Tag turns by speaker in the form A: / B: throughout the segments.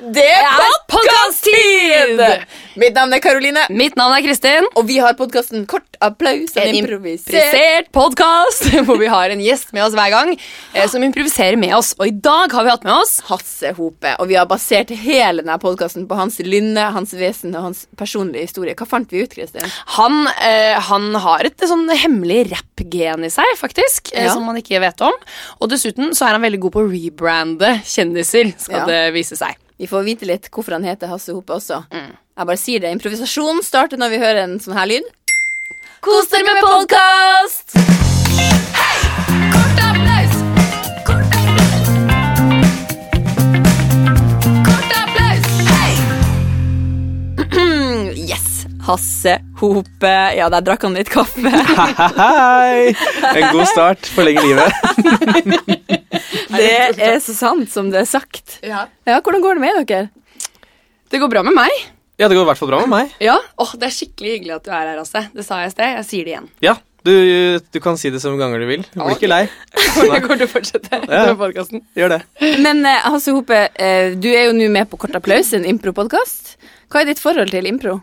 A: Det er podkast-tid!
B: podcast-tid!
A: Mitt navn er Karoline,
B: Mitt navn er Kristin.
A: og vi har podkasten Kort applaus. En
B: En
A: improvisert
B: improvisert podkast hvor vi har en gjest med oss hver gang eh, som improviserer med oss. Og i dag har vi hatt med oss
A: Hassehope. Og vi har basert hele denne podkasten på hans lynne, hans vesen og hans personlige historie. Hva fant vi ut, Kristin?
B: Han, eh, han har et sånn hemmelig rappgen i seg, faktisk, eh,
A: Ja.
B: som man ikke vet om. Og dessuten så er han veldig god på å rebrande kjendiser, skal
A: Ja.
B: det vise seg.
A: Vi får vite litt hvorfor han heter Hassehope også. Jeg bare sier det. Improvisasjon starter når vi hører en sånn her lyd.
B: Kos dere med podkast!
A: Mm, Yes! Hassehope. Ja, der drakk han litt kaffe.
C: Hei! En god start. Forlenge livet.
A: Det er så sant som det er sagt. Ja, Hvordan går det med dere?
B: Det går bra med meg.
C: Ja, det går i hvert fall bra med meg.
B: Ja, Åh, Det er skikkelig hyggelig at du er her. Altså. Det sa jeg i sted. Jeg sier det igjen.
C: Ja, du, du kan si det så mange ganger du vil. Du blir ikke lei.
B: Jeg kommer til å fortsette
C: Ja.
B: med podkasten.
C: Gjør det.
A: Men eh, Hasse Hope, eh, du er jo nå med på Kort applaus, en impro-podkast. Hva er ditt forhold til impro?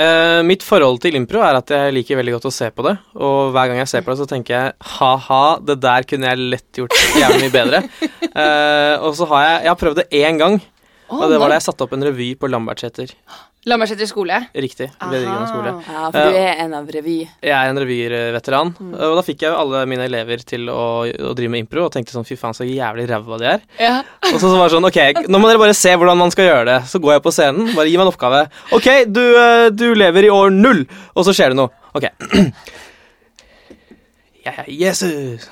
C: Eh, mitt forhold til impro er at jeg liker veldig godt å se på det. Og hver gang jeg ser på det, så tenker jeg ha-ha, det der kunne jeg lett gjort jævlig mye bedre. Eh, og så har jeg, jeg har prøvd det én gang, og det var da jeg satte opp en revy på Lambertseter.
B: La meg sette i skole.
C: Riktig. Videregående skole.
A: Ja, for du er en av revy.
C: Jeg er en revyveteran, og da fikk jeg jo alle mine elever til å, å drive med impro, og tenkte sånn fy faen, så jævlig ræva de er.
B: Ja.
C: Og så, så var det sånn, ok, nå må dere bare se hvordan man skal gjøre det. Så går jeg på scenen, bare gi meg en oppgave. Ok, du, eh, du lever i år null, og så skjer det noe. Ok. Jeg er Jesus.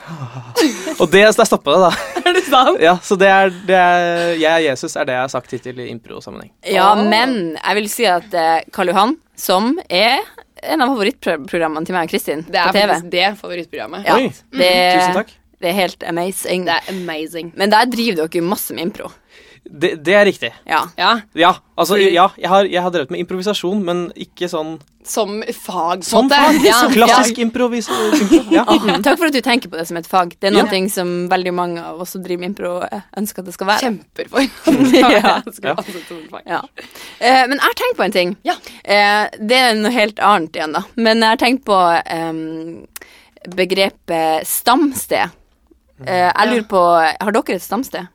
C: Og det, der stoppa det, da.
B: Er det sant?
C: Ja, så det er, det er Jeg er Jesus, er det jeg har sagt hittil i impro-sammenheng.
A: Ja,
B: Åh.
A: men jeg vil si at eh, Karl Johan, som er en av favorittprogrammene til meg og Kristin
B: Det
A: på
B: er
A: TV
B: faktisk det favorittprogrammet.
A: Ja,
C: Oi,
A: det,
C: Mhm. tusen takk.
A: Det er helt amazing.
B: Det er amazing.
A: Men der driver dere jo masse med impro.
C: Det, det er riktig.
A: Ja.
B: Ja,
C: Ja, altså,
B: Fordi-
C: ja, jeg har, jeg har drevet med improvisasjon, men ikke sånn
B: Som fag. på en
C: Som
B: måte.
C: fag.
B: Sånn Ja,
C: Klassisk improvisasjon. Ja.
A: Mm. Takk for at du tenker på det som et fag. Det er
C: Ja.
A: noen ting som veldig mange av oss som driver med impro, eh, ønsker at det skal
B: Ja.
A: være.
B: Kjemper for. ja.
C: Ja.
A: Ja. Eh, men jeg har tenkt på en ting.
B: Ja.
A: Eh, det er noe helt annet igjen, da. Men jeg har tenkt på ehm, begrepet stamsted. Eh, jeg lurer på Har dere et stamsted?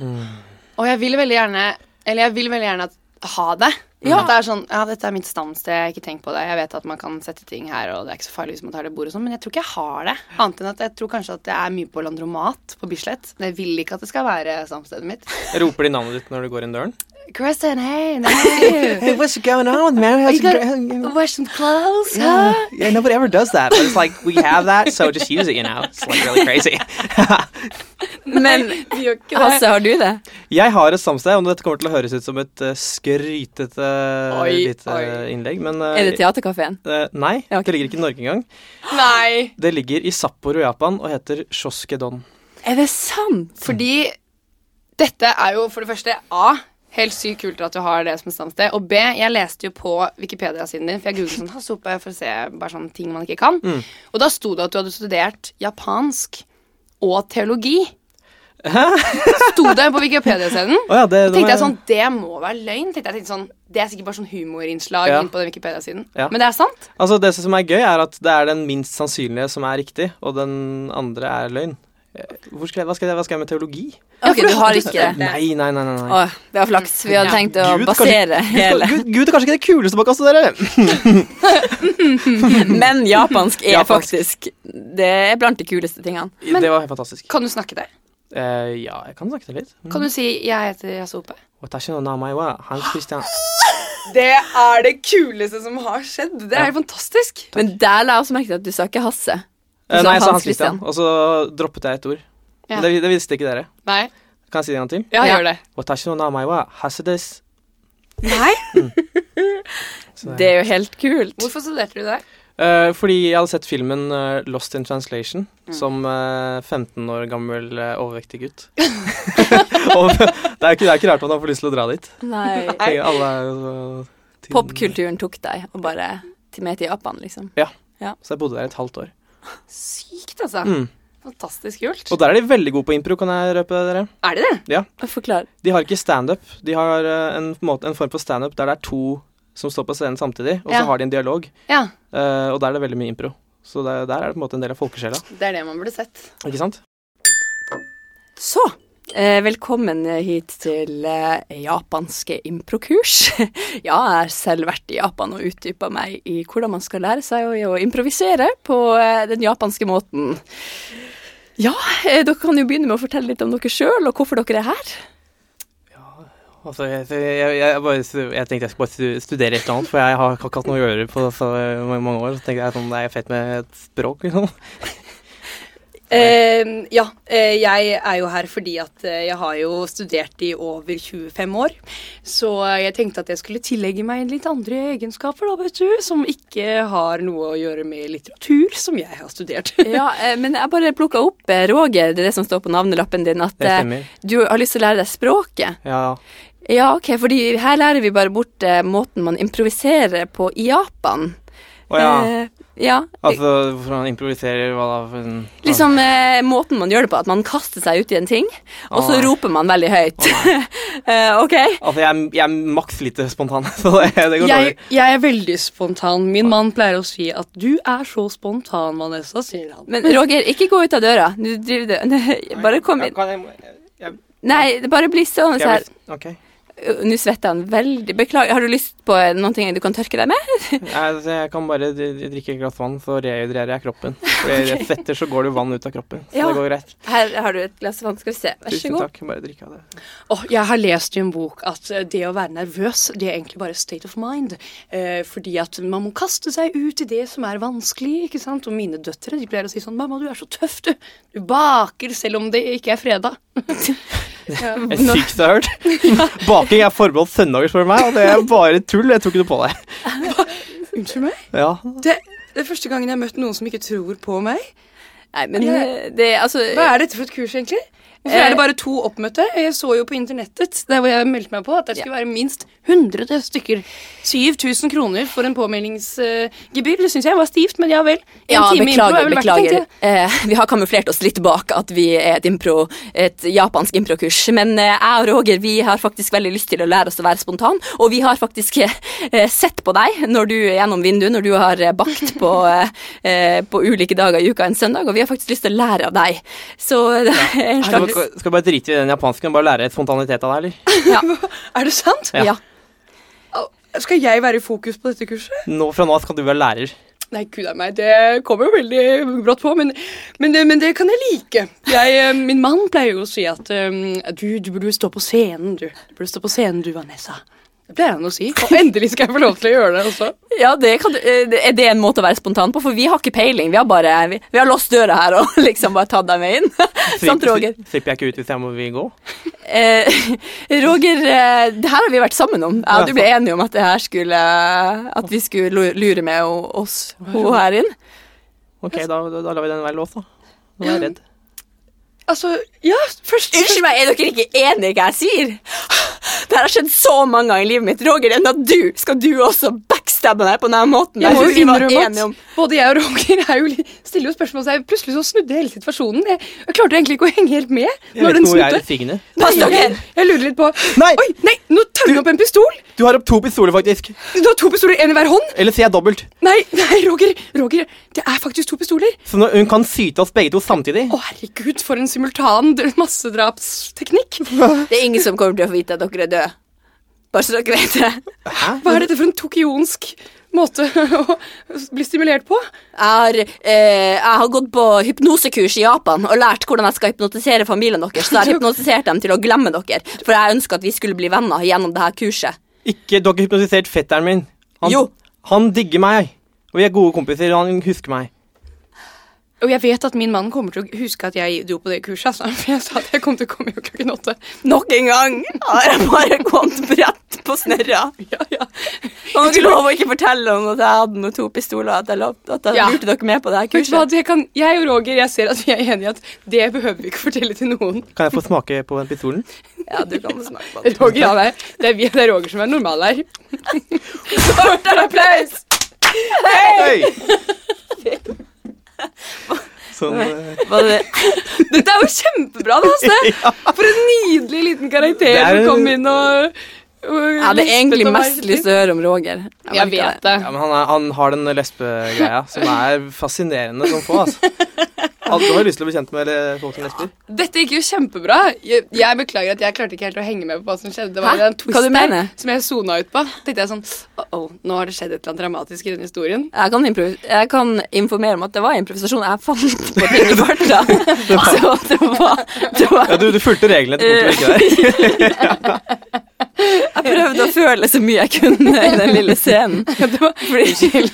B: Og jeg vil veldig gjerne Eller jeg vil veldig gjerne at, ha det. At det er sånn Ja, dette er mitt stamsted, jeg har ikke tenkt på det. Jeg vet at man kan sette ting her, og det er ikke så farlig hvis man tar det bordet og sånn, men jeg tror ikke jeg har det. Annet enn at jeg tror kanskje at jeg er mye på Landromat på Bislett. Men jeg vil ikke at det skal være stamstedet mitt.
C: Roper de navnet ditt når du går inn døren?
B: Kristen, hey, no.
C: Hey, what's going on, man?
B: you gonna wear some clothes, huh?
C: yeah, nobody ever does that. But it's like we have that, so just use it. You know, it's like really crazy.
A: Men
B: De gjør ikke det.
A: Hasse, har du det?
C: Jeg har et stamsted, og dette kommer til å høres ut som et eh, skrytete
B: Oi,
C: lite
B: oi.
C: innlegg, men eh,
A: Er det Theatercafeen?
C: eh, Nei,
A: Ja, ok.
C: det ligger ikke i Norge engang.
B: Nei.
C: Det ligger i Sapporo, Japan, og heter Shoskedon.
A: Er det sant?
B: Fordi dette er jo for det første A. Helt sykt kult at du har det som stamsted. Og B. Jeg leste jo på Wikipedia-siden din, for jeg googlet sånn hasope for å se bare sånne ting man ikke kan.
C: Mm.
B: Og da sto det at du hadde studert japansk og teologi. Sto det på Wikipedia-siden?
C: Å ja, det, det
B: tenkte
C: var-
B: jeg sånn, Det må være løgn. tenkte jeg, tenkte sånn, Det er sikkert bare sånn humorinnslag
C: Ja.
B: inn på den Wikipedia-siden.
C: Ja.
B: Men det er sant.
C: Altså, det som er gøy, er at det er den minst sannsynlige som er riktig, og den andre er løgn. Eh, Hvor skal jeg, hva, skal jeg, hva skal jeg med teologi?
A: Ok, du har ikke det.
C: Nei, nei, nei. nei, nei.
A: Åh, det var flaks. Vi hadde
B: Ja.
A: tenkt å
C: Gud,
A: basere
C: Gud,
A: hele
C: Gud, Gud er kanskje ikke det kuleste man kan studere!
A: Men japansk er
C: Japansk.
A: faktisk Det er blant de kuleste tingene.
C: det var helt fantastisk.
B: Kan du snakke det?
C: Eh, ja, jeg kan snakke det litt.
B: Kan du si 'jeg heter Hasope'?
C: Watashi no namae wa Hans Christian.
B: Det er det kuleste som har skjedd. Det er helt fantastisk.
A: Men der la jeg også merke til at du sa ikke Hasse. Du
C: Eh,
A: sa
C: nei, jeg
A: Hans
C: sa Hans Christian,
A: Christian.
C: og så droppet jeg et ord.
B: Ja.
C: Det, det visste ikke dere.
B: Nei.
C: Kan jeg si det en gang til?
B: Ja,
A: Ja.
B: gjør det.
C: Watashi no namae wa Hasedes.
B: Nei.
C: Så
A: Det er jo helt kult.
B: Hvorfor studerte du det?
C: Eh, fordi jeg hadde sett filmen eh, Lost in Translation
A: Mm.
C: som eh, 15 år gammel eh, overvektig gutt. Og det, er ikke, det er ikke rart man får lyst til å dra dit.
A: Nei.
C: Tenker Alle er jo så tynne.
A: Popkulturen tok deg og bare til med til Japan, liksom.
C: Ja.
A: Ja.
C: Så jeg bodde der et halvt år.
B: Sykt, altså.
C: Mm.
B: Fantastisk kult.
C: Og der er de veldig gode på impro, kan jeg røpe dere.
B: Er de det?
A: Forklar.
C: De har ikke standup. De har eh, en, på en måte, en form for standup der det er to som står på scenen samtidig, og så
B: Ja.
C: har de en dialog.
B: Ja.
C: Eh, og der er det veldig mye impro. Så der, der er det på en måte en del av folkesjela.
B: Det er det man burde sett.
C: Ikke sant?
A: Så, eh, velkommen hit til eh, japanske improkurs. ja, jeg har selv vært i Japan og utdypa meg i hvordan man skal lære seg å, å improvisere på eh, den japanske måten. Ja, eh, dere kan jo begynne med å fortelle litt om dere sjøl, og hvorfor dere er her.
C: Altså, jeg, jeg, jeg, bare, jeg tenkte jeg skulle bare stu- studere et eller annet, for jeg har ikke hatt noe å gjøre på så mange, mange år. Så tenkte jeg sånn, det er fett med et språk, liksom.
B: Eh, ja, eh, jeg er jo her fordi at eh, jeg har jo studert i over 25 år. Så eh, jeg tenkte at jeg skulle tillegge meg litt andre egenskaper, da, vet du. Som ikke har noe å gjøre med litteratur, som jeg har studert.
A: Ja, eh, men jeg bare plukka opp eh, Roger, det er det som står på navnelappen din, at
C: Det
A: eh,
C: stemmer.
A: du har lyst til å lære deg språket.
C: Ja,
A: Ja, ok, fordi her lærer vi bare bort eh, måten man improviserer på i Japan.
C: Å ja.
A: Eh, ja.
C: Altså, hvorfor han improviserer, hva da? for en-
A: Liksom eh, måten man gjør det på, at man kaster seg ut i en ting, og så
C: Åh.
A: roper man veldig høyt. eh, ok?
C: Altså, jeg, er- jeg er maks lite spontan, så det, det går
B: Jeg,
C: dårlig.
B: jeg er veldig spontan. Min mann pleier å si at 'du er så spontan, Vanessa', sier han.
A: Men Roger, ikke gå ut av døra. Du driver det. Bare kom
C: Jeg
A: inn.
C: kan- jeg- jeg- jeg-
A: Nei, det bare bli stående
C: jeg
A: her.
C: blir- Ok.
A: Uh, Nå svetter han veldig. Beklager, har du lyst på eh, noen ting du kan tørke deg med?
C: Nei, altså, jeg kan bare d- d- drikke et glass vann, så rehydrerer jeg kroppen. For jeg svetter, så går det jo vann ut av kroppen. Så
A: Ja.
C: det går greit.
A: Her har du et glass vann, skal vi se. Vær så
C: Tusen
A: god.
C: takk. Bare drikke av det.
B: Åh, jeg har lest i en bok at eh, det å være nervøs, det er egentlig bare state of mind. Eh, fordi at man må kaste seg ut i det som er vanskelig, ikke sant. Og mine døtre de pleier å si sånn 'mamma, du er så tøff, du'. Du baker selv om det ikke er fredag.
C: Det er sykt jeg har hørt. Baking er forbeholdt søndager, spør du meg, og det er bare tull. Jeg tror ikke du på deg.
B: Unnskyld meg?
C: Ja.
B: Det, det er første gangen jeg har møtt noen som ikke tror på meg.
A: Nei, men eh, det er altså
B: Hva er dette for et kurs, egentlig? Hvorfor
A: Eh.
B: er det bare to oppmøtte? Jeg så jo på internettet der hvor jeg meldte meg på, at det skulle være minst 100 stykker. 7000 kroner for en påmeldingsgebyr. Det syns jeg var stivt, men ja vel. En
A: Ja,
B: time
A: beklager,
B: impro er vel verdt det,
A: beklager.
B: tenkte jeg.
A: Eh, vi har kamuflert oss litt bak at vi er et, impro, et japansk improkurs. Men eh, jeg og Roger vi har faktisk veldig lyst til å lære oss å være spontan, og vi har faktisk eh, sett på deg når du, gjennom vinduet når du har eh, bakt på, eh, eh, på ulike dager i uka en søndag, og vi har faktisk lyst til å lære av deg. Så det er en
C: Skal,
A: slags
C: skal vi bare drite i den japansken og bare lære spontanitet av deg, eller?
A: ja,
B: Er det sant?
A: ja.
B: Au, Skal jeg være i fokus på dette kurset?
C: Nå, fra nå av skal du være lærer.
B: Nei, gud a meg, det kommer jo veldig brått på, men, men, det- men det kan jeg like. Jeg, eh, min mann pleier jo å si at eh, du, du burde stå på scenen, du. Du burde stå på scenen, du, Vanessa. Det pleier han å si. Og endelig skal jeg få lov til å gjøre det også.
A: ja det kan du, eh, det- er det en måte å være spontan på? For vi har ikke peiling. Vi har bare, vi, vi har låst døra her og liksom bare tatt deg med inn. Sant, Roger?
C: Slipper jeg ikke ut hvis jeg må vil gå?
A: Eh, Roger, eh, det her har vi vært sammen om. Jeg og du ble enige om at, det her skulle, eh, at vi skulle lu- lure med o- oss hun her inn.
C: Ok, da, da, da lar vi den være låst, da. Nå er jeg redd.
B: Altså, ja, først
A: Unnskyld meg, er dere ikke enige i hva jeg sier? Det her har skjedd så mange ganger i livet mitt. Roger, det er når du, skal du også backstabbe meg på denne måten?
B: Jeg må
A: synes
B: jo
A: vi var
B: innrømme
A: enige om-
B: at både jeg og Roger er jo litt, stiller jo spørsmål seg. Plutselig så snudde hele situasjonen. Jeg, jeg klarte egentlig ikke å henge helt med.
C: Jeg
B: når
C: vet
B: den
C: ikke hvor jeg
B: snudde.
C: er i svingene.
A: Pass
B: Nei,
A: dere!
B: Jeg, jeg lurer litt på
C: Nei!
B: Oi, nei, nå tar hun opp en pistol!
C: Du har opp to pistoler, faktisk.
B: Du har to pistoler, én i hver hånd.
C: Eller sier jeg dobbelt.
B: Nei, nei, Roger, Roger, det er faktisk to pistoler.
C: Så nå, hun kan syte oss begge to samtidig.
B: Å, herregud, for en simultan d- massedrapsteknikk.
A: Det er ingen som kommer til å få vite at dere er døde. Bare så dere vet det.
C: Hæ?
B: Hva er dette for en tokionsk måte å bli stimulert på?
A: Jeg har, eh, jeg har gått på hypnosekurs i Japan og lært hvordan jeg skal hypnotisere familien deres. Så jeg har hypnotisert dem til å glemme dere, for jeg ønska at vi skulle bli venner gjennom det her kurset.
C: Ikke, du har ikke hypnotisert fetteren min. Han,
A: Jo.
C: han digger meg. Og vi er gode kompiser, og han husker meg.
B: Og jeg vet at min mann kommer til å huske at jeg dro på det kurset. Altså, for jeg sa at jeg kom til å komme hjem klokken åtte.
A: Nok en gang har jeg bare gått bredt på snørra.
B: Ja, ja.
A: Kan dere love å ikke fortelle om at jeg hadde noen to pistoler, at jeg, lovte- at jeg
B: Ja.
A: lurte dere med på det her
B: Vet du hva,
A: kurset?
B: det kan, jeg og Roger jeg ser at vi er enige i at det behøver vi ikke fortelle til noen.
C: Kan jeg få smake på den pistolen?
A: Ja, du kan snakke på det.
B: Roger, ja, nei, det, er vi, det er Roger som er normal her. Stort applaus!
C: Hei! Sånn, eh,
A: Var det det? Dette er jo kjempebra, da, altså. Hasse!
C: ja.
B: For en nydelig liten karakter
C: Det er-
B: som kom inn og, og
A: Jeg hadde
B: lispet
A: egentlig
B: og
A: mest
B: merket.
A: lyst til å høre om Roger.
B: Jeg
A: merker
B: vet det.
C: Ja, men han, er, han har den lesbegreia som er fascinerende som få, altså. Al- Du har lyst til å bli kjent med le- folk som lesber?
B: Dette gikk jo kjempebra. Jeg, jeg beklager at jeg klarte ikke helt å henge med på hva som skjedde. Det var
A: Hæ?
B: en twist
A: Hva du
B: der
A: mener?
B: som jeg sona ut på. Tenkte jeg sånn «Uh-oh, nå har det skjedd et eller annet dramatisk i denne historien.
A: Jeg kan, improvis- jeg kan informere om at det var improvisasjon. Jeg fant på ting i farta. Så det var, det var
C: Ja, du, du fulgte reglene til punkt og prikke der.
A: Jeg prøvde å føle så mye jeg kunne i den lille scenen. Unnskyld.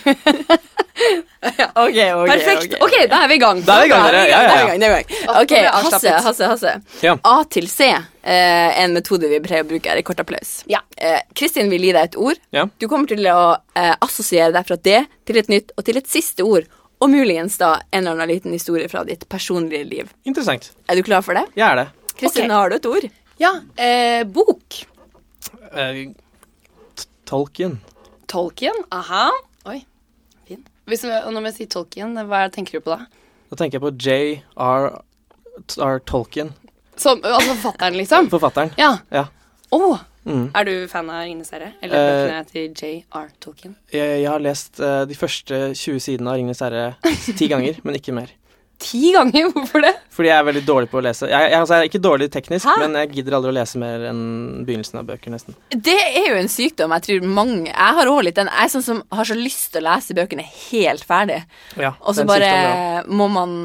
A: Ok, ok.
B: Perfekt. Ok, da er vi i gang.
C: Da er vi
A: Da er vi i
C: i gang, dere. Ja,
A: gang, da er
C: ja,
A: vi i
C: ja.
A: gang, da er vi i gang. Ok,
B: Ja, ja, ja.
A: Hasse, Hasse, Hasse.
C: Ja.
A: A til C, eh, en metode vi pleier å bruke, er i kort applaus.
B: Ja.
A: Eh, Kristin vil gi deg et ord.
C: Ja.
A: Du kommer til å eh, assosiere deg fra det til et nytt og til et siste ord, og muligens da en eller annen liten historie fra ditt personlige liv.
C: Interessant.
A: Er du klar for det?
C: Jeg er det.
A: Kristin,
B: Ok.
A: har du et ord?
B: Ja, eh, Bok.
C: Eh, t- Tolkien.
B: Tolkien. Aha. Oi, fin. Hvis, og når jeg sier Tolkien, hva tenker du på da?
C: Da tenker jeg på J.R. T- R. Tolkien,
B: Som, altså forfatteren, liksom?
C: forfatteren.
B: Ja.
C: Ja.
B: Å!
C: Mm.
B: Er du fan av Ringenes herre? Eller
C: Eh.
B: bøkene til J.R. Tolkien?
C: Jeg, jeg har lest eh, de første 20 sidene av Ringenes herre ti ganger, men ikke mer.
B: Ti ganger? Hvorfor det?
C: Fordi jeg er veldig dårlig på å lese. Jeg, jeg, altså, jeg er ikke dårlig teknisk,
A: Hæ?
C: men jeg gidder aldri å lese mer enn begynnelsen av bøker, nesten.
A: Det er jo en sykdom jeg tror mange Jeg har også litt den. Jeg er sånn som har så lyst til å lese bøkene helt ferdig.
C: Ja,
A: Og så
C: den
A: bare
C: sykdommen, ja.
A: må man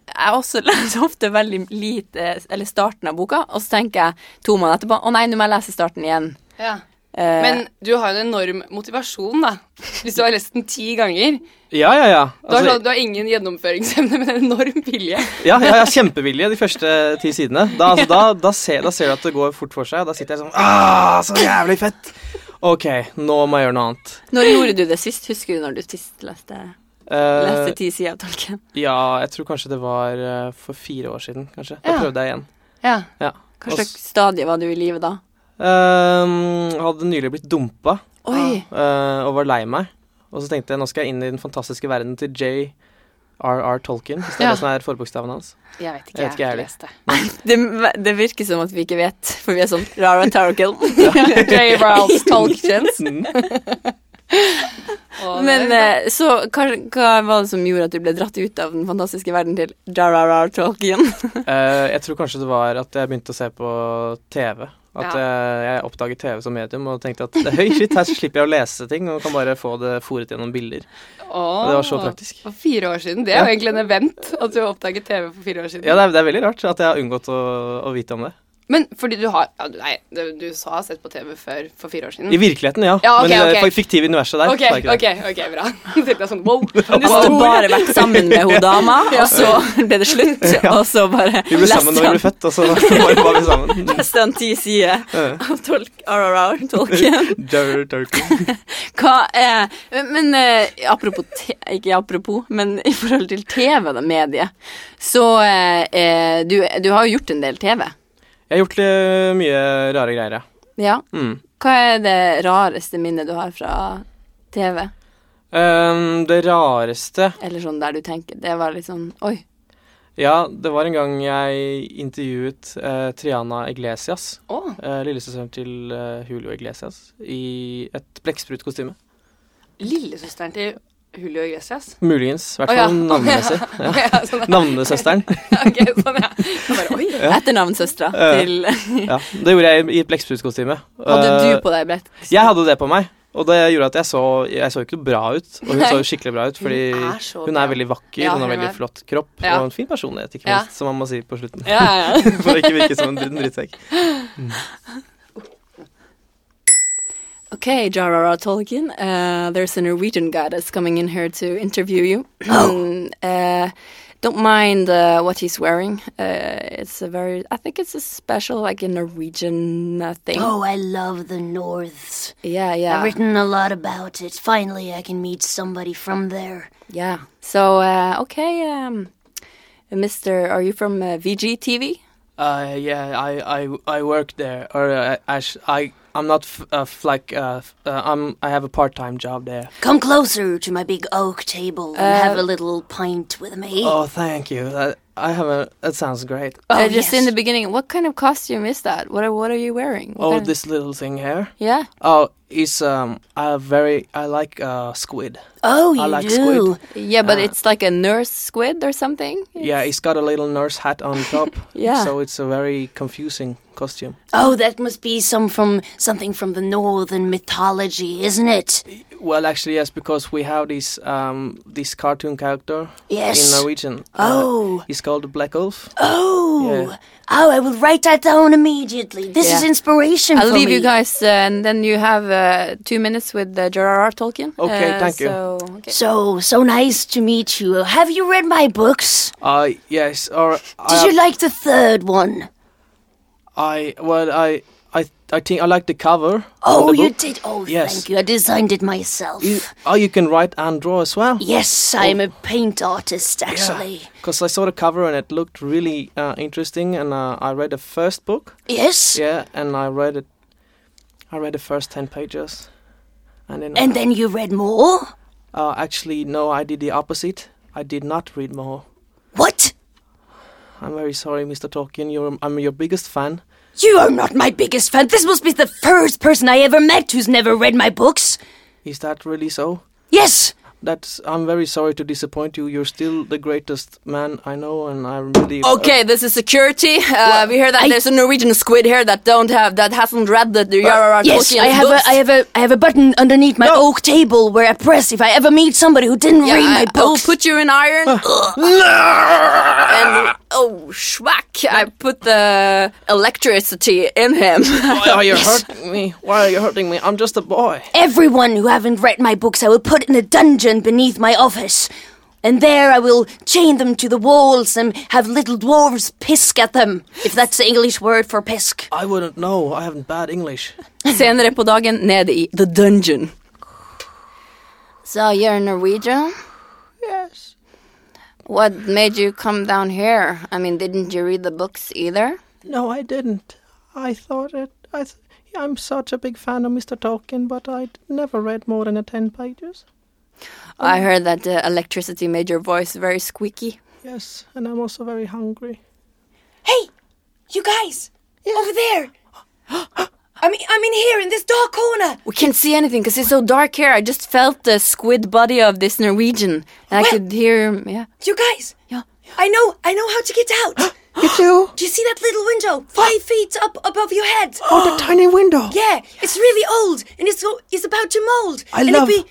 A: Jeg også leser ofte veldig lite Eller starten av boka, og så tenker jeg to måneder etterpå Å nei, nå må jeg lese starten igjen.
B: Ja.
A: Eh,
B: Men du har jo en enorm motivasjon, da. Hvis du har lest den ti ganger.
C: Ja, ja, ja.
B: Du har,
C: Altså,
B: sånn, du har ingen gjennomføringsevne, men en enorm vilje.
A: sånn-
C: Ja, jeg har kjempevilje de første ti sidene. Da, altså, da, da, ser, da ser du at det går fort for seg, og da sitter jeg sånn ah, Så jævlig fett! Ok, nå må jeg gjøre noe annet.
A: Når gjorde du det sist? Husker du når du sist leste,
C: Eh,
A: leste ti sider av Tolkien?
C: ja, jeg tror kanskje det var eh, for fire år siden, kanskje. Da
B: Ja.
C: prøvde jeg igjen.
B: Ja.
C: Ja.
A: Hva
C: Og
A: slags
C: s-
A: stadie var du i livet da?
C: Ehm, hadde nylig blitt dumpa
A: Oi!
C: eh, og var lei meg. Og så tenkte jeg nå skal jeg inn i den fantastiske verden til J.R.R. Tolkien. Hvis det er
B: Ja.
C: det som er forbokstaven hans.
B: Jeg vet ikke,
C: Jeg vet ikke, jeg
B: har
C: heller.
B: lest det.
A: Det, det virker som at vi ikke vet, for vi er sånn Rara Tarokil.
B: J. Rowles Tolkien. Og-
A: Men eh, så hva, hva var det som gjorde at du ble dratt ut av den fantastiske verden til J.R.R. Tolkien?
C: Eh, jeg tror kanskje det var at jeg begynte å se på TV. At
B: Ja.
C: eh, jeg oppdaget TV som medium og tenkte at høy shit, her slipper jeg å lese ting og kan bare få det fòret gjennom bilder.
B: Å.
C: Og det var så praktisk.
B: For fire år siden. Det er jo
C: Ja.
B: egentlig en event at du har oppdaget TV for fire år siden.
C: Ja, det er, det er veldig rart at jeg har unngått å, å vite om det.
B: Men fordi du har ja, Nei, du, du sa sett på TV før for fire år siden.
C: I virkeligheten, ja.
B: Mm. Ja, ok,
C: Men i det
B: ok.
C: fiktive universet der.
B: Ok,
C: så er ikke det.
B: ok, ok, bra. Så tenkte jeg sånn, wow. Men
A: Hvis du bare vært sammen med hun dama, og så ble det slutt, og så bare
C: Vi ble sammen da vi ble født, og så bare var vi sammen.
A: Leste han ti sider
C: Eh,
A: av tolk, RRR, tolken.
C: Jar Tolkien.
A: Hva er Men eh, apropos te, Ikke apropos, men i forhold til TV, da, mediet, så eh, eh, du, du har jo gjort en del TV.
C: Jeg har gjort eh, mye rare greier, ja.
A: Ja.
C: Mm.
A: Hva er det rareste minnet du har fra TV?
C: Ehm, det rareste
A: Eller sånn der du tenker Det var litt sånn Oi.
C: Ja, det var en gang jeg intervjuet eh, Triana Iglesias.
B: Å,
C: Eh, Lillesøsteren til eh, Julio Iglesias i et blekkspruttkostyme.
B: lillesøsteren til Julio Iglesias.
C: Muligens. I hvert
B: Å,
C: fall
B: ja.
C: navnemessig.
B: Ja.
C: Ja.
B: sånn, ja.
C: Navnesøsteren.
B: Ok, sånn, ja. Jeg Bare, oi.
A: Etternavnsøstera
C: Eh.
A: til
C: Ja, det gjorde jeg i et blekkspruttkostyme.
A: Hadde
C: Eh,
A: du på deg brett?
C: Jeg hadde det på meg, og det gjorde at jeg så Jeg så jo ikke bra ut, og hun
A: Nei.
C: så jo skikkelig bra ut, fordi
B: Hun er så
C: hun er
B: bra.
C: veldig vakker,
B: Ja,
C: hun har
B: hun
C: veldig
B: er-
C: flott kropp,
B: Ja.
C: og en fin personlighet, ikke
B: Ja.
C: minst, som man må si på slutten.
B: Ja, ja, ja.
C: For å ikke virke som en dritt- drittsekk.
A: OK, Jarara Tolkien, uh, there's a Norwegian guy that's coming in here to interview you.
C: Oh.
A: uh, don't mind uh, what he's wearing. Uh, it's a very, I think it's a special, like a Norwegian uh, thing.
D: Oh, I love the Norths.
A: Yeah, yeah.
D: I've written a lot about it. Finally, I can meet somebody from there.
A: Yeah. So, uh, okay, um, Mr. Are you from uh, VGTV?
C: Uh, yeah, I, I, I work there, or I, I, sh- I, I'm not f uh, f- like uh, f- uh, I'm I have a part-time job there.
D: Come closer to my big oak table and
A: Uh,
D: have a little pint with me.
C: Oh, thank you. That I have a. That sounds great.
D: Oh,
A: Uh,
D: yes.
A: just in the beginning, what kind of costume is that? What are, what are you wearing? What
C: Oh,
A: kind of-
C: this little thing here.
A: Yeah.
C: Oh, it's um. I very. I like uh squid.
D: oh, you
C: I like
D: do.
C: squid.
A: Yeah, but
C: Uh,
A: it's like a nurse squid or something.
C: Yeah, it's got a little nurse hat on top.
A: Yeah.
C: So it's a very confusing costume.
D: Oh, that must be some from something from the northern mythology, isn't it?
C: Well, actually, yes, because we have this um this cartoon character in
D: Yes.
C: Norwegian. Uh,
D: Oh,
C: he's called Black Ulf.
D: oh,
C: yeah.
D: oh! I will write that down immediately. This is
A: Yeah.
D: inspiration.
A: I'll
D: for
A: leave
D: me.
A: you guys, uh, and then you have uh, two minutes with uh, J.R.R. Tolkien.
C: Okay,
A: Uh,
C: thank you.
A: So, okay.
D: So so nice to meet you. Have you read my books?
C: Uh, yes. Or
D: Did
C: I,
D: you like the third one?
C: I well I I I think I like the cover.
D: Oh,
C: on the
D: you
C: book.
D: did. Oh,
C: Yes.
D: thank you. I designed it myself.
C: You- oh, you can write and draw as well.
D: Yes, I am a paint artist, actually.
C: Because I saw the cover and it looked really uh, interesting, and uh, I read the first book.
D: Yes.
C: Yeah, and I read it. I read the first ten pages, and then
D: And then you read more.
C: uh, actually no, I did the opposite. I did not read more.
D: What?
C: I'm very sorry, Mr. Tolkien. You're I'm your biggest fan.
D: You are not my biggest fan. This must be the first person I ever met who's never read my books.
C: Is that really so?
D: Yes.
C: That's. I'm very sorry to disappoint you. You're still the greatest man I know, and I really. uh,
A: Okay, this is security. Uh, we hear that
D: I-
A: there's a Norwegian squid here that don't have that hasn't read the
C: Uh,
A: J.R.R.
D: Yes,
A: Tolkien
D: I have
A: books.
D: a I have a I have a button underneath my
C: No.
D: oak table where I press if I ever meet somebody who didn't
A: yeah,
D: read my
A: I, I'll
D: books.
A: put you in iron.
C: Ah.
A: and oh, schwack! I put the electricity in him.
C: Why are you hurting me? Why are you hurting me? I'm just a boy.
D: Everyone who haven't read my books, I will put in a dungeon beneath my office. And there I will chain them to the walls and have little dwarves pisk at them, if that's the English word for pisk.
C: I wouldn't know. I haven't bad English.
A: Senere på dagen ned i The Dungeon. So you're Norwegian?
C: Yes.
A: What made you come down here? I mean, didn't you read the books either?
C: No, I didn't. I thought it. I th- I'm such a big fan of Mr. Tolkien, but I never read more than a ten pages.
A: I heard that the electricity made your voice very squeaky.
C: Yes, and I'm also very hungry.
E: Hey, you guys, over there. I'm, I'm in here in this dark corner.
A: We can't see anything because it's so dark here. I just felt the squid body of this Norwegian. And I
E: Well-
A: could hear him, yeah.
E: You guys.
A: Yeah.
E: I know, I know how to get out.
C: You too.
E: Do you see that little window five feet up above your head?
C: Oh, the tiny window.
E: Yeah, it's really old and it's go- it's about to mold.
C: I
E: and
C: love-
E: It'll be,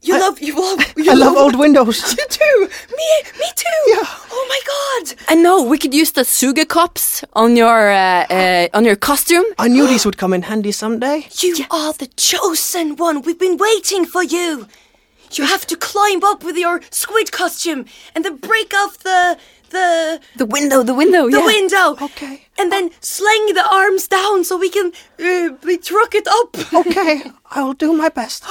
E: you love, you love, you
C: I love old windows.
E: You too. Me, me too.
C: Yeah.
E: Oh my god.
A: I know we could use the suga cups on your uh, uh, on your costume.
C: I knew these would come in handy someday.
E: You are the chosen one. We've been waiting for you. You have to climb up with your squid costume and then break off the the
A: The window, the window,
E: the
A: yeah.
E: window.
C: Okay.
E: And then sling the arms down so we can uh, be truck it up.
C: Okay, I will do my best.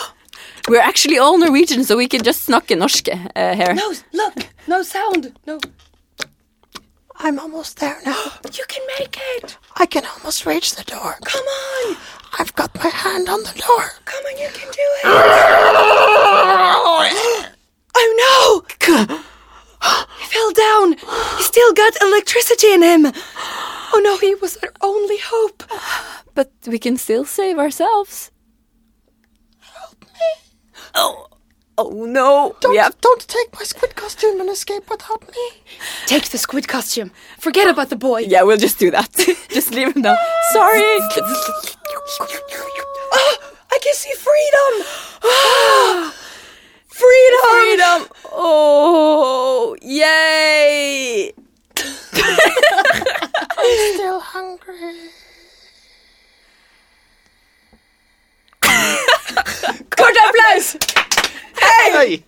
A: We're actually all Norwegian, so we can just snakke norske uh, here.
E: No, look, no sound. No,
C: I'm almost there now.
E: you can make it.
C: I can almost reach the door.
E: Come on,
C: I've got my hand on the door.
E: come on, you can do it. oh no! He fell down. He still got electricity in him. Oh no, he was our only hope.
A: But we can still save ourselves. Help me. Oh, oh no. we have
C: Don't take my squid costume and escape without me.
E: Take the squid costume. Forget about the boy.
A: Yeah, we'll just do that. just leave him down. Sorry.
E: Ah, I can see freedom. Ah, freedom.
A: Freedom. Oh, yay.
C: Still hungry.
B: Kort applaus!
C: Hey!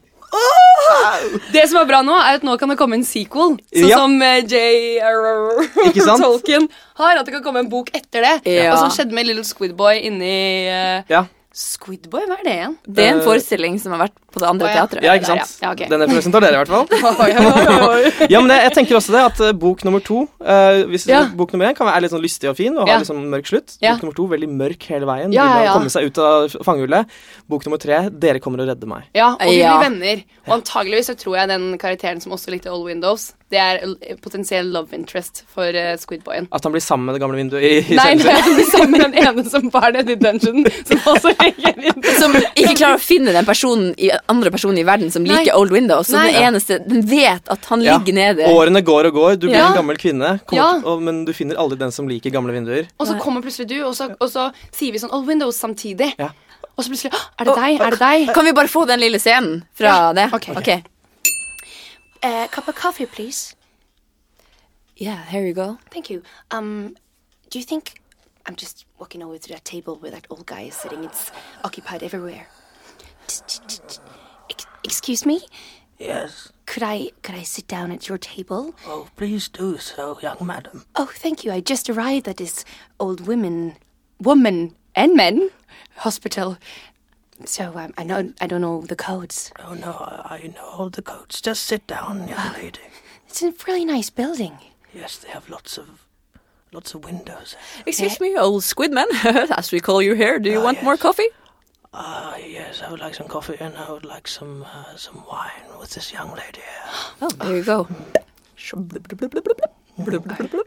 B: Det som er bra nå, er at nå kan det komme en sequel. Sånn
C: Ja.
B: som eh, J.R.R.
C: Ikke sant?
B: Tolkien har. At det kan komme en bok etter det.
A: Ja.
B: Og sånn skjedde med Little Squidboy inni eh,
C: Ja.
B: Squidboy? Hva er det igjen?
A: Det er en
C: Eh,
A: forestilling som har vært på det andre
B: Å, ja.
A: teatret.
C: Ja, ikke
B: der, ja.
C: sant?
B: Ja, ok.
C: Den representerer dere, i hvert fall.
B: Oi, oi, oi.
C: Ja, men jeg, jeg tenker også det at eh, bok nummer to eh, hvis
B: Ja.
C: Bok nummer én kan være litt sånn lystig og fin og
B: Ja.
C: ha litt sånn mørk slutt.
B: Ja.
C: Bok nummer to veldig mørk hele veien.
B: Ja,
C: vil man
B: ja, ja.
C: komme seg ut av fangehullet. Bok nummer tre dere kommer og redder meg.
B: Ja, og vi
A: Ja.
B: blir venner. Og antageligvis så tror jeg den karakteren som også likte All Windows, det er l- eh, potensiell love interest for eh, Squid Boyen.
C: At han blir sammen med det gamle vinduet i, i
B: Nei,
C: cellen
B: nei,
C: sin.
B: jeg blir sammen med den ene som var nede i dungeon, som også ligger inne.
A: Som ikke klarer å finne den personen i, andre personen i verden som
B: Nei.
A: liker Old Windows. Som
B: Nei.
A: den eneste Den vet at han
C: Ja.
A: ligger nede.
C: Årene går og går, du blir
B: Ja.
C: en gammel kvinne, kommer
B: Ja.
C: til- og, men du finner aldri den som liker gamle vinduer.
B: Og så kommer plutselig du, og så, og så sier vi sånn All Windows samtidig.
C: Ja.
B: Og så plutselig «Å, Er det deg? Er det deg?
A: Kan vi bare få den lille scenen fra det?
B: ok.
A: Ok.
E: A Eh, cup of coffee, please.
A: Yeah, here you go.
E: Thank you. Um, do you think I'm just walking over to that table where that old guy is sitting? It's occupied everywhere. T- t- t- t- ex- Excuse me.
F: Yes.
E: Could I could I sit down at your table?
F: Oh, please do so, young madam.
E: Oh, thank you. I just arrived at this old women
B: Woman and men.
E: hospital, so um, I know I don't know the codes.
F: Oh, no, I, I know all the codes. Just sit down, young lady.
E: It's a really nice building.
F: Yes, they have lots of lots of windows.
A: Excuse me, old squidman, as we call you here. Do you want more coffee?
F: Ah, yes, I would like some coffee and I would like some uh, some wine with this young lady here.
A: Oh, there you go.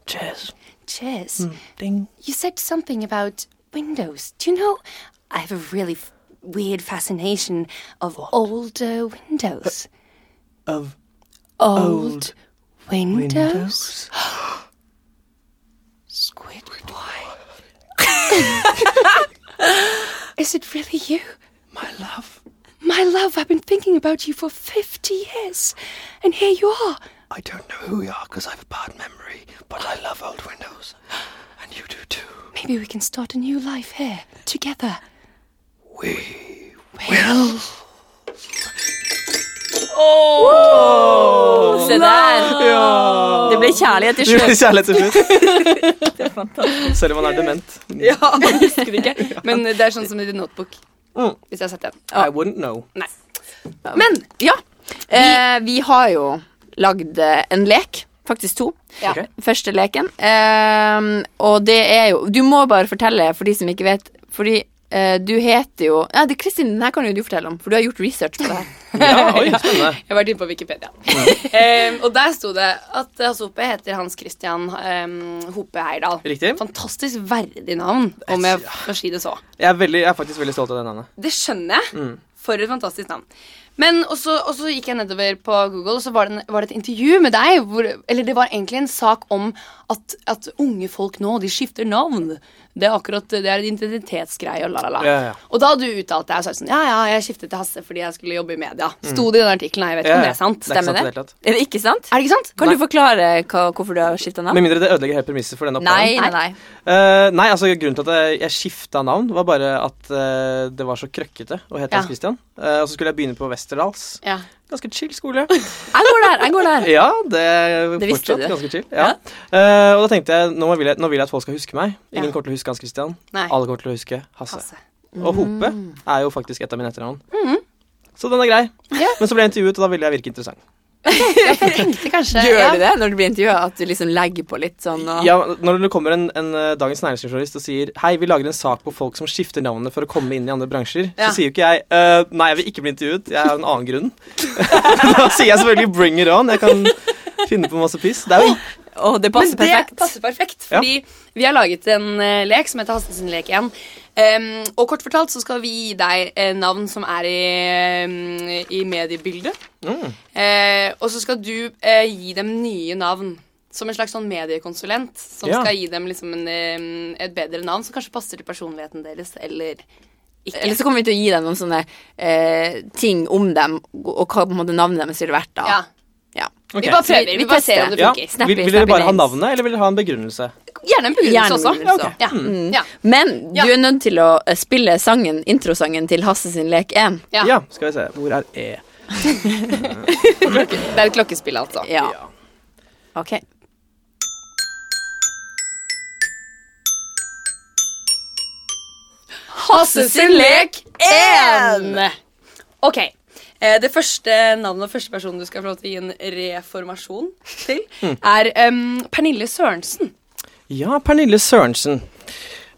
F: Cheers.
E: Cheers.
F: Ding.
E: You said something about windows. Do you know? I have a really f- weird fascination of old uh, windows.
F: Of
E: old windows?
F: windows.
E: Squid boy. Is it really you?
F: My love,
E: My love, I've been thinking about you for 50 years. And here you are.
F: I don't know who you are because I have a bad memory, but I love old windows. And you do too.
E: Maybe we can start a new life here, together.
F: We.
A: Se der. Det ble kjærlighet til slutt.
C: Kjærlighet til slutt. Selv om han er dement.
B: Ja, jeg husker det ikke. Men det er sånn som i The Notebook.
C: Mm.
B: Hvis jeg har sett den.
C: I wouldn't know.
B: Nei.
A: Men ja, eh, vi har jo lagd eh, en lek. Faktisk to.
B: Ja.
C: Ok.
A: Første leken. Eh, og det er jo Du må bare fortelle for de som ikke vet, fordi eh, du heter jo Ja, det Kristin, den her kan jo du fortelle om, for du har gjort research på det. her.
C: Ja, oi, spennende.
B: Jeg har vært inne på Wikipedia.
C: Mm.
B: Em, og der sto det er at Hasope heter Hans Christian em, Hope Heyerdahl.
C: Riktig.
B: Fantastisk verdig navn, om jeg får si det så.
C: Jeg er, veldig, jeg er faktisk veldig stolt av det navnet.
B: Det skjønner jeg. For et fantastisk navn. Men og så og så gikk jeg nedover på Google, og så var det, en, var det et intervju med deg. Hvor, eller det var egentlig en sak om at, at unge folk nå, de skifter navn. Det er akkurat, det er en identitetsgreie og la, la, la.
C: Ja, ja.
B: Og da hadde du uttalt deg og sagt sånn Ja, ja, jeg skiftet til Hasse fordi jeg skulle jobbe i media. Sto det i den artikkelen? her, Jeg vet ikke om
C: Mm. Ja, ja.
B: det er sant.
C: Det er ikke sant
A: Stemmer
C: i
A: det?
C: det hele tatt.
A: Er det ikke sant?
B: Er det ikke sant?
A: Kan du forklare hva, hvorfor du har skifta navn?
C: Med mindre det ødelegger helt premisset for denne
A: Nei,
C: oppgaven.
A: nei, nei.
C: Eh, nei, altså Grunnen til at jeg, jeg skifta navn, var bare at eh, det var så krøkkete å hete
B: Ja.
C: Hans Christian. Eh, og så skulle jeg begynne på Westerdals.
B: Ja.
C: Ganske chill skole.
A: Jeg går der, jeg går der.
C: Ja, det er
A: Det visste
C: fortsatt
A: du.
C: ganske chill. Ja. Eh, og da tenkte jeg nå, vil jeg nå vil jeg at folk skal huske meg. Ingen kommer til å huske Hans Christian.
B: Nei.
C: Alle kommer til å huske Hasse.
B: Hasse.
C: Og Hope er jo faktisk et av mine etternavn. Så den er grei. Men så ble jeg intervjuet, og da ville jeg virke interessant.
B: Tenkte kanskje
A: Gjør
B: ja.
A: du det når du blir intervjua, at du liksom legger på litt sånn og
C: Ja, når det kommer en, en eh, Dagens Næringslivsjournalist og sier Hei, vi lager en sak på folk som skifter navnene for å komme inn i andre bransjer,
B: Ja.
C: så sier jo ikke jeg «Eh, Nei, jeg vil ikke bli intervjuet. Jeg har en annen grunn. da sier jeg selvfølgelig bring it on. Jeg kan finne på masse piss. Det er jo
A: Å, det passer
B: Men det
A: perfekt.
B: passer perfekt,
C: Ja.
B: fordi vi har laget en eh, lek som heter Hasten sin lek igjen. Em, og kort fortalt så skal vi gi deg eh, navn som er i, em, i mediebildet. Eh, og så skal du eh, gi dem nye navn. Som en slags sånn mediekonsulent som
C: Ja.
B: skal gi dem liksom en, em, et bedre navn som kanskje passer til personligheten deres, eller ikke.
A: Eller så kommer vi til å gi dem noen sånne eh, ting om dem, og hva på en måte navnet deres ville vært da.
B: ja.
A: Ja.
C: Ok.
B: Vi bare prøver.
A: Vi-
B: Vi,
A: vi
B: bare ser
A: tester.
B: om det
C: ja.
B: funker.
A: Snappy,
C: Vil, vil dere
A: snappy
C: bare ha
A: names.
C: navnet, eller vil dere ha en begrunnelse?
B: Gjerne en
A: Gjerne
B: begrunnelse også.
A: en begrunnelse.
B: Ja. Ja.
A: Men
B: Ja.
A: du er nødt til å eh, spille sangen, introsangen til Hasse sin lek 1.
B: Ja.
C: Ja, skal vi se. Hvor er E?
B: Det er et klokkespill, altså.
A: Ja. OK.
B: Hasse sin lek 1. Ok. Eh, det første navnet og første personen du skal få lov til å gi en reformasjon til, er em, Pernille Sørensen.
C: Ja, Pernille Sørensen.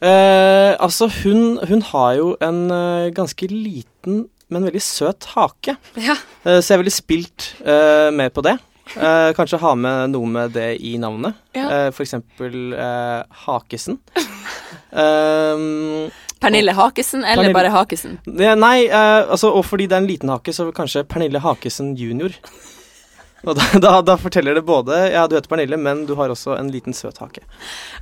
C: Eh, altså, hun, hun har jo en eh, ganske liten, men veldig søt hake.
B: Ja.
C: Eh, så jeg ville spilt eh, mer på det. Eh, kanskje ha med noe med det i navnet.
B: Ja.
C: Eh, for eksempel eh, Hakesen. Eh,
A: Pernille Hakesen eller
C: Pernille-
A: bare Hakesen?
C: det- nei, eh, altså, og fordi det er en liten hake, så kanskje Pernille Hakesen junior. Og da, da, da forteller det både Ja, du heter Pernille, men du har også en liten søt hake.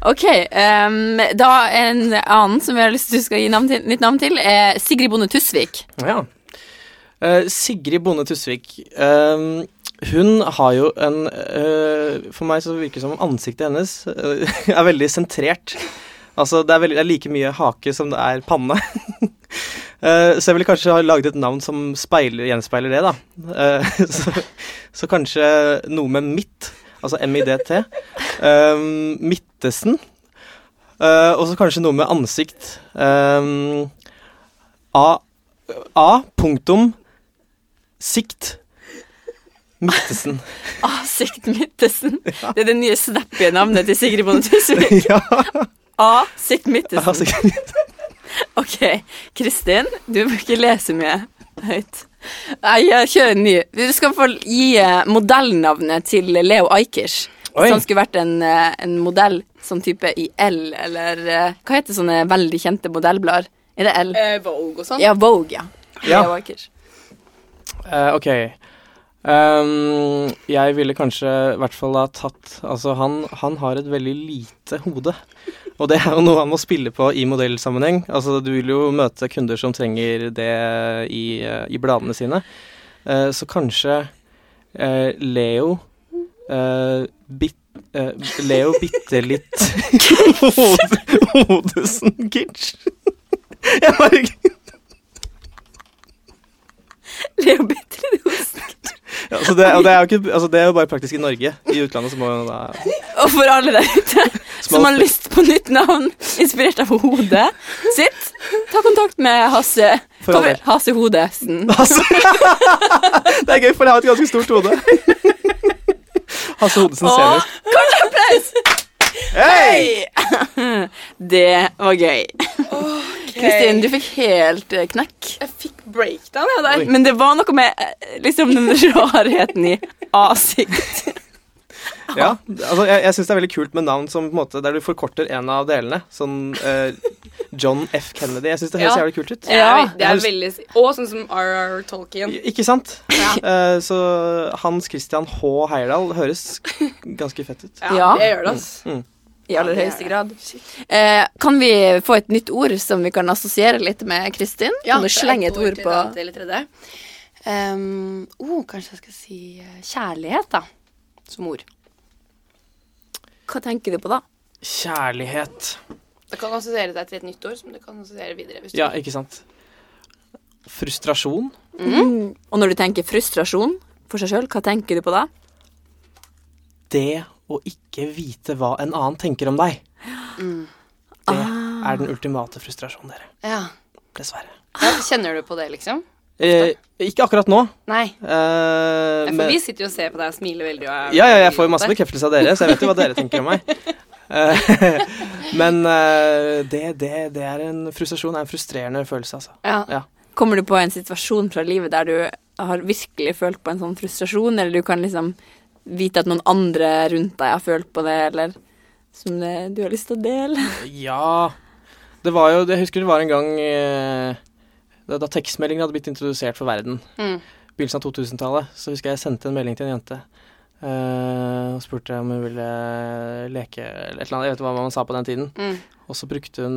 A: Ok, ehm, da en annen som jeg har lyst til du skal gi navn til, nytt navn til, er Sigrid Bonde Tusvik.
C: Ja. Eh, Sigrid Bonde Tusvik. eh, hun har jo en eh, For meg så virker det som om ansiktet hennes eh, er veldig sentrert. Altså, det er, veldig, det er like mye hake som det er panne. Eh, så jeg ville kanskje ha laget et navn som speiler, gjenspeiler det, da. Eh, så, så kanskje noe med midt, altså M-I-D-T. eh, midtesen. Eh, og så kanskje noe med ansikt. Eh, A A. Punktum. Sikt. Midtesen.
A: Asikt Midtesen. Det er det nye snappy navnet til Sigrid Bonde Tusvik.
C: ja.
A: Asikt Midtesen.
C: Altså,
A: Ok, Kristin, du må ikke lese mye høyt. Nei, jeg kjører en ny. Du skal få gi eh, modellnavnet til Leo Ajkic.
C: Oi.
A: Som skulle vært en, eh, en modell sånn type i L, eller eh, hva heter sånne veldig kjente modellblader? Er det L?
B: Eh, Vogue og sånn.
A: Ja, Vogue, ja.
C: Ja.
A: Leo Ajkic.
C: eh, ok. Ehm, jeg ville kanskje i hvert fall ha tatt Altså, han, han har et veldig lite hode. Og det er jo noe han må spille på i modellsammenheng. Altså, du vil jo møte kunder som trenger det i, eh, i bladene sine. Eh, så kanskje eh, Leo eh, bit, eh, Leo bitte litt Hode- Hodesen Kitsch. Jeg bare
A: Leo Bitter
C: Ja, altså det, og det, er jo ikke, altså det er jo bare praktisk i Norge. I utlandet så må man da
A: Og for alle der ute som
C: Small-
A: har lyst på nytt navn, inspirert av hodet sitt, ta kontakt med Hasse.
C: For all del.
A: Hasse Hodesen.
C: Hasse. Det er gøy, for jeg har et ganske stort hode. Hasse Hodesen
A: Og
C: senior.
A: kort applaus!
C: Hei!
A: Det var gøy. Kristin, du fikk helt eh, knekk.
B: Jeg fikk breakdown, ja.
C: Oi.
A: Men det var noe med eh, liksom den rarheten i asikt.
C: Ja, altså jeg, jeg syns det er veldig kult med navn som på en måte, der du forkorter en av delene. Sånn eh, John F. Kennedy. Jeg syns det høres
B: Ja.
C: jævlig kult ut.
A: Ja,
B: det er veldig Og sånn som RR Tolkien.
C: I- Ikke sant? Eh, så Hans Christian H. Heyerdahl høres ganske fett ut.
A: Ja.
B: Ja,
A: Mm.
B: Det gjør det, ass.
A: I aller
B: det er
A: høyeste grad. Eh, kan vi få et nytt ord som vi kan assosiere litt med Kristin? kan du
B: det er
A: slenge et ord
B: til
A: på
B: det eller tredje. Ehm, oh, kanskje jeg skal si eh, kjærlighet, da. Som ord.
A: Hva tenker du på da?
C: Kjærlighet.
B: Det kan assosiere deg til et nytt ord som du kan assosiere videre. Hvis
C: Ja, ikke sant. Frustrasjon.
B: Mm.
A: Og når du tenker frustrasjon for seg sjøl, hva tenker du på da?
C: det å ikke vite hva en annen tenker om deg. Det er den ultimate frustrasjonen, dere.
B: du... ja.
C: Dessverre.
B: Ja, kjenner du på det, liksom?
C: Eh, ikke akkurat nå.
B: Nei.
C: Eh,
B: Nei, For
C: men-
B: vi sitter jo og ser på deg og smiler veldig. Og er
C: ja, ja, jeg
B: veldig
C: får jo
B: glad
C: masse
B: for deg.
C: bekreftelse av dere, så jeg vet jo hva dere tenker om meg. Eh, men eh, det, det, det er en frustrasjon. er en frustrerende følelse, altså.
B: Ja.
C: Ja.
A: Kommer du på en situasjon fra livet der du har virkelig følt på en sånn frustrasjon, eller du kan liksom vite at noen andre rundt deg har følt på det, eller som det, du har lyst til å dele?
C: Ja Det var jo Jeg husker det var en gang eh, da, da tekstmeldingen hadde blitt introdusert for verden.
B: Mm.
C: Begynnelsen av 2000-tallet. Så husker jeg jeg sendte en melding til en jente. eh, og spurte om hun ville leke eller et eller annet. Jeg vet ikke hva man sa på den tiden.
B: Mm.
C: Og så brukte hun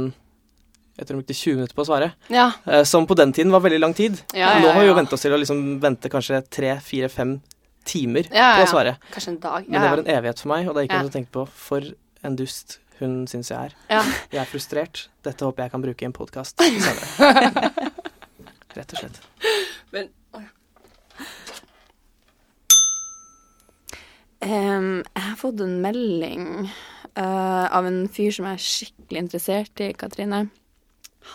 C: jeg tror hun brukte 20 minutter på å svare.
B: Ja.
C: eh, som på den tiden var veldig lang tid.
B: Ja, ja,
C: Nå har vi jo
B: ja.
C: vent oss til å liksom vente kanskje tre, fire, fem timer
B: Ja, ja,
C: på å svare.
B: Kanskje en dag. Ja,
C: Men det
B: ja.
C: var en evighet for meg, og det gikk
B: Ja.
C: jeg og tenkte på. For en dust hun syns jeg er.
B: Ja.
C: Jeg er frustrert. Dette håper jeg kan bruke i en podkast senere. Rett og slett.
B: Men,
A: Ehm, jeg har fått en melding eh, av en fyr som jeg er skikkelig interessert i, Katrine.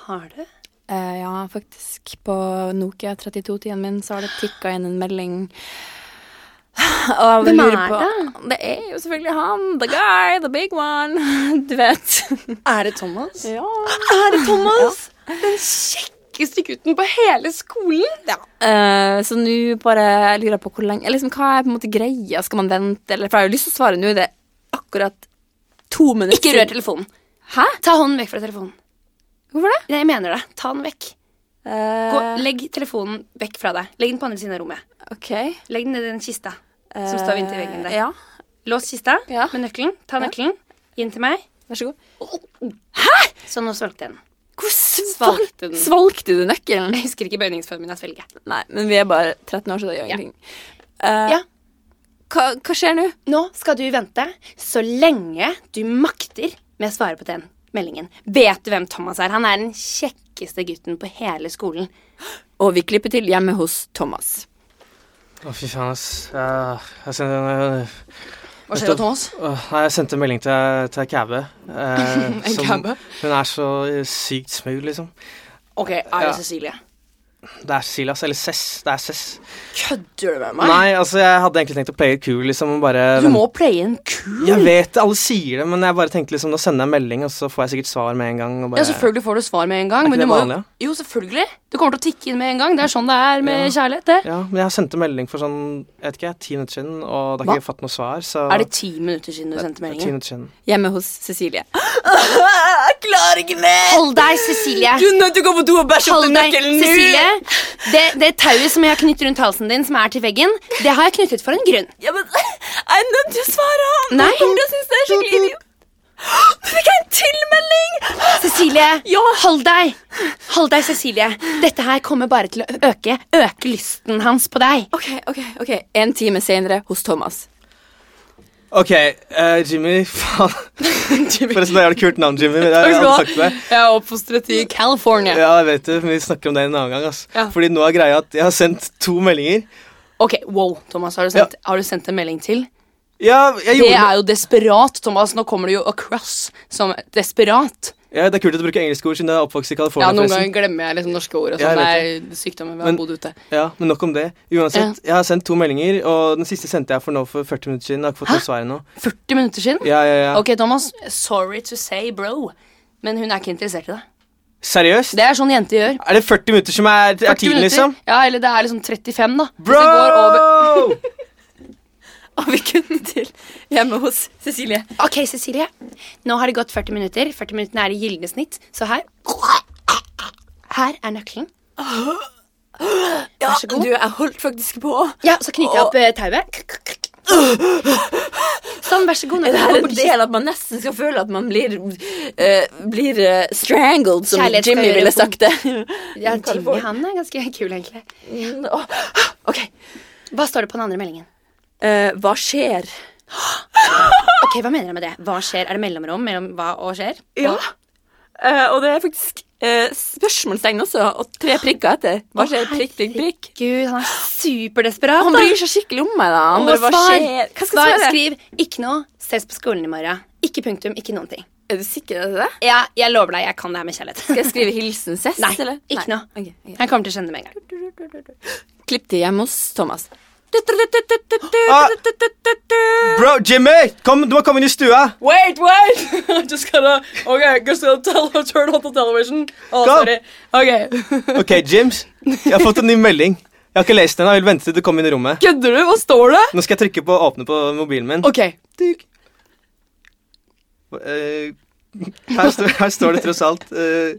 B: har du?
A: Eh, ja, faktisk. På Nokia 32-tiden min så har det tikka inn en melding. Og jeg
E: Hvem er
A: lurer på- Det er jo selvfølgelig han. The guy, the big one. Du vet.
E: Er det
B: Eh,
E: Thomas?
A: Ja.
E: Er det Thomas? Den kjekkeste gutten på hele skolen? Ja.
A: Eh, så nå bare lurer jeg på hvor lenge eller liksom, Hva er på en måte greia? Skal man vente? Eller, for jeg har jo lyst til å svare nå. Det er akkurat to minutter
E: Ikke rør telefonen.
A: Hæ?
E: Ta hånden vekk fra telefonen.
A: Hvorfor det?
E: Nei, jeg mener det. Ta den vekk.
A: Eh,
E: Gå, legg telefonen vekk fra deg. Legg den på andre siden av rommet.
A: OK. Eh,
E: Legg den ned i den kista som står inntil veggen der.
A: Ja,
E: Lås kista
A: Ja.
E: med nøkkelen. Ta nøkkelen. Gi den til meg.
A: vær så god.
E: Så nå svelgte jeg den.
A: Hvor
E: Svalgte den.
A: Svalgte du nøkkelen? liksom?
E: Jeg husker ikke bøyningsformen min av svelge.
A: Nei, men vi er bare 13 år, så det gjør ingenting. Eh,
E: Ja.
A: hva, hva skjer nå?
E: Nå skal du vente så lenge du makter med å svare på den meldingen. Vet du hvem Thomas er? Han er den kjekkeste gutten på hele skolen.
A: Og vi klipper til hjemme hos Thomas.
C: Å, fy faen, ass. Jeg, jeg, sendte,
E: Hva
C: skjer da,
E: Thomas?
C: Åh, nei, jeg sendte en melding til, til Kæbe. eh, som- Hun er så eh, sykt smooth, liksom.
E: Ok, er
C: Ja.
E: det Cecilie?
C: Det er Silas, eller Cess. Det er Cess.
E: Kødder du med meg?
C: Nei, altså, jeg hadde egentlig tenkt å playe it cool, liksom, og bare
E: Du må playe en kul.
C: Jeg vet det, alle sier det, men jeg bare tenkte liksom, nå sender jeg en melding, og så får jeg sikkert svar med en gang. Og bare,
E: Ja, selvfølgelig får du svar med en gang.
C: Er
E: Men
C: ikke
E: du
C: det
E: må
C: vanlig,
E: jo, jo, selvfølgelig. Du kommer til å tikke inn med en gang. Det er sånn det er med
C: Ja.
E: kjærlighet. det.
C: Ja, men jeg sendte melding for sånn, jeg vet ikke, ti minutter siden, og det har
E: Hva?
C: ikke fått noe svar, så
E: Er det ti minutter siden du sendte
C: Ti
E: meldingen?
C: minutter siden.
A: Hjemme hos Cecilie.
G: Jeg klarer ikke mer!
E: Hold deg, Cecilie!
G: Du er nødt til å gå på do og bæsje opp
E: Hold
G: den
E: deg,
G: nøkkelen nå!
E: Cecilie! Det, det tauet som jeg har knyttet rundt halsen din, som er til veggen, det har jeg knyttet for en grunn.
G: Ja, men jeg er nødt til å svare han!
E: Nei.
G: Jeg synes det er skikkelig idiot. Du fikk en tilmelding!
E: Cecilie, hold deg! Hold deg, Cecilie. Dette her kommer bare til å øke, øke lysten hans på deg.
A: OK, OK. ok. En time senere hos Thomas.
C: Ok, eh, Jimmy, faen. Forresten, det er et kult navn, Jimmy. Jeg, jeg hadde sagt det.
E: Jeg er oppfostret i California.
C: Ja, jeg vet det, men vi snakker om det en annen gang, ass.
E: Ja.
C: Fordi nå er greia at jeg har sendt to meldinger.
E: Ok, wow, Thomas, har du sendt, har du sendt en melding til?
C: Ja, jeg
E: Det
C: gjorde
E: er jo desperat, Thomas. Nå kommer det jo across som desperat.
C: Ja, det er kult at du bruker engelske ord siden jeg er oppvokst i California.
E: Ja, Noen
C: forresten.
E: ganger glemmer jeg liksom norske ord. og
C: Ja, jeg
E: sånn.
C: vet
E: Det er sykdommer ved å
C: Men-
E: ha bodd ute.
C: Ja, men nok om det. Uansett, jeg har sendt to meldinger, og den siste sendte jeg for nå for 40 minutter siden. Jeg har ikke fått noe svar ennå.
E: 40 minutter siden?
C: Ja, ja, ja.
E: Ok, Thomas. Sorry to say, bro. Men hun er ikke interessert i deg.
C: Seriøst?
E: Det er sånn jenter gjør.
C: Er det 40 minutter som er, er
E: 40
C: tiden,
E: minutter.
C: liksom?
E: Ja, eller det er liksom 35, da. Hvis
C: Bro!
E: det går over
A: Og vi kunne til hjemme hos Cecilie.
E: Ok, Cecilie. Nå har det gått 40 minutter. 40 minutter er i gylne snitt, så her Her er nøkkelen.
A: Ja,
E: Vær så god.
A: Du, jeg holdt faktisk på.
E: Ja, så knyter jeg opp eh, tauet. Sånn, vær så god.
A: Er det her
E: nøkkelen.
A: en del at man nesten skal føle at man blir, eh, blir eh, strangled, som
E: Kjærlighet skal
A: Jimmy
E: gjøre
A: ville sagt det?
E: Ja, Jimmy,
A: California.
E: han er ganske kul, egentlig.
A: Åh, ah, OK.
E: Hva står det på den andre meldingen?
A: Eh, hva skjer?
E: Ok, Hva mener jeg med det? Hva skjer? Er det mellomrom mellom hva og skjer?
A: Ja. Eh, og det er faktisk eh, spørsmålstegn også, og tre prikker etter. Hva skjer? Prikk, prikk, prikk.
E: Gud, han er superdesperat.
A: Han
E: da.
A: bryr seg skikkelig om meg, da. Han bare, hva
E: svar.
A: skjer? Hva skal
E: Svar,
A: jeg svare?
E: Skriv 'ikke noe, ses på skolen i morgen'. Ikke punktum, ikke noen ting.
A: Er du sikker på det?
E: Ja, jeg lover deg, jeg kan det her med
A: Skal
E: kjærlighet.
A: jeg skrive hilsen Sess,
E: Nei,
A: eller?
E: ikke noe.
A: Ok, ok.
E: Jeg kommer til å skjønne det med en gang.
A: Klipp til hjemme hos Thomas. Ah.
C: Bro, Jimmy! Kom, du må komme inn i stua!
E: Wait, wait! just gonna, ok, just gonna tell, turn on the television. Oh,
C: Go. sorry.
E: Ok.
C: Ok, Jims. Jeg har fått en ny melding. Jeg har ikke lest den. Jeg vil vente til du kommer inn i rommet.
E: Kødder du? Hva står det?
C: Nå skal jeg trykke på å åpne på mobilen min.
E: Ok.
C: Eh, her, står, her står det tross alt eh,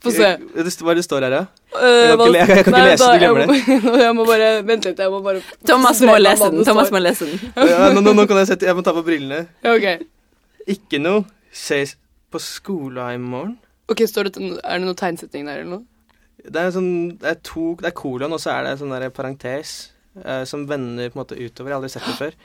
E: Få se.
C: eh, Det, st- hva er det står her, da?
E: Eh,
C: Jeg kan ikke le- jeg kan ikke
E: Nei,
C: lese,
E: da-
C: du glemmer
E: Jeg må, jeg må bare Vent litt, jeg må bare
A: Thomas må lese den. Thomas må lese den.
C: Ja, nå, nå, nå kan jeg sette Jeg må ta på brillene.
E: Ja, ok.
C: Ikke noe. Ses på skolen i morgen.
E: Ok, står det, Er det noen tegnsetning der, eller noe?
C: Det er sånn Det er to Det er kolon, og så er det sånn der parentes eh, som vender på en måte utover. Jeg har aldri sett det før.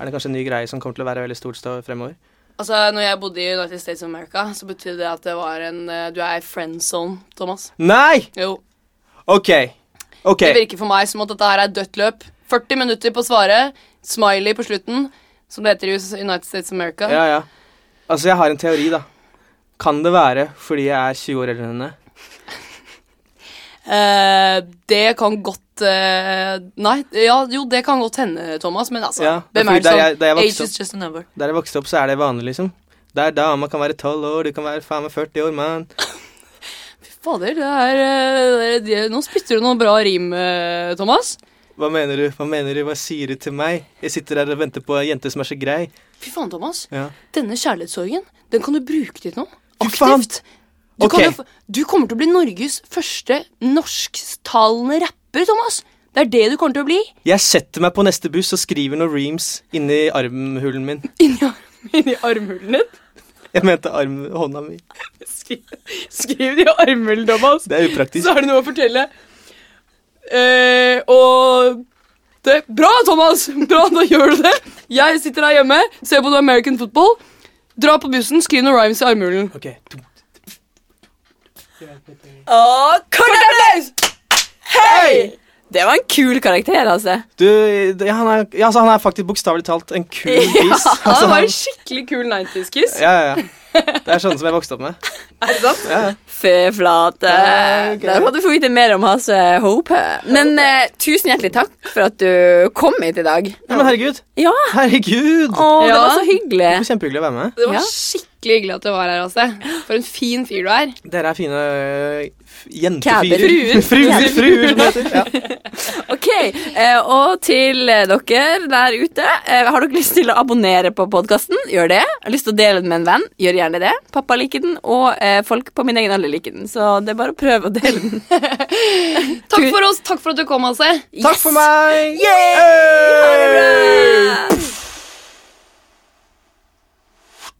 C: Er det kanskje en ny greie som kommer til å være veldig stort stå- fremover?
E: Altså, når jeg bodde i United States of America, så betydde det at det var en eh, Du er i friend zone, Thomas.
C: Nei!
E: Jo.
C: OK. OK.
E: Det virker for meg som at dette her er dødt løp. 40 minutter på å svare. Smiley på slutten, som det heter i US- United States of America.
C: Ja, ja. Altså, jeg har en teori, da. Kan det være fordi jeg er 20 år eldre enn henne?
B: Eh, det kan godt eh, Nei, ja, jo, det kan godt hende, Thomas, men altså
C: Ja, det er
B: Hvem er det
C: fordi der
B: som
C: jeg- der jeg vokste
B: Age is just a number.
C: Der jeg vokste opp, så er det vanlig, liksom. Der dama kan være 12 år, du kan være faen meg 40 år, mann.
B: Fader, det er, eh, det er Nå spytter du noen bra rim, eh, Thomas.
C: Hva mener du? Hva mener du? Hva sier du til meg? Jeg sitter her og venter på ei jente som er så grei.
B: Fy faen, Thomas.
C: Ja.
B: Denne kjærlighetssorgen, den kan du bruke til noe.
C: Fy faen!
B: Aktivt. Du, kan
C: Ok.
B: jo f- du kommer til å bli Norges første norsktalende rapper, Thomas. Det er det du kommer til å bli.
C: Jeg setter meg på neste buss og skriver noen reams inni armhulen min.
B: Inni, inni armhulen din.
C: Jeg mente arm, hånda mi.
B: Skriv, skriv det i armhulen, Thomas.
C: Det er upraktisk.
B: Så har du noe å fortelle. Eh, og det, Bra, Thomas! Bra, da gjør du det. Jeg sitter her hjemme, ser på noe American football. Dra på bussen, skriv noen rhymes i armhulen.
C: Ok.
A: Cornelius! Ah, Hei! Det var en kul karakter, altså.
C: Du, det- han er, ja, altså, han er faktisk bokstavelig talt en kul kiss.
B: Ja,
C: Altså,
B: det var
C: han,
B: en skikkelig kul 90s-kiss.
C: ja, ja, ja. Det er sånne som jeg vokste opp med.
B: Er det sant?
A: Fy flate. Der må du få vite mer om Hasse Hope. Men eh, tusen hjertelig takk for at du kom hit i dag.
C: Ja, men herregud.
A: Ja,
C: Herregud.
A: å, det
B: Ja.
A: var så hyggelig.
C: Kjempehyggelig å være med.
B: Det var
A: Ja.
B: skikkelig hyggelig at du var her, Asse. For en fin fyr du er.
C: Dere er fine øh, f-
A: Kæber.
C: jentefyrer.
B: Fruer.
C: Fruer, fruer, som det heter. Ja.
A: Ok, eh, og til eh, dere der ute eh, Har dere lyst til å abonnere på podcasten? Gjør det Har lyst til å dele den med en venn? Gjør gjerne det Pappa liker den, og eh, folk på min egen alder liker den Så det er bare å prøve å dele den
B: Takk for oss. Takk for at du kom, Asse.
C: Takk for meg!
A: Yay! Ha det bra!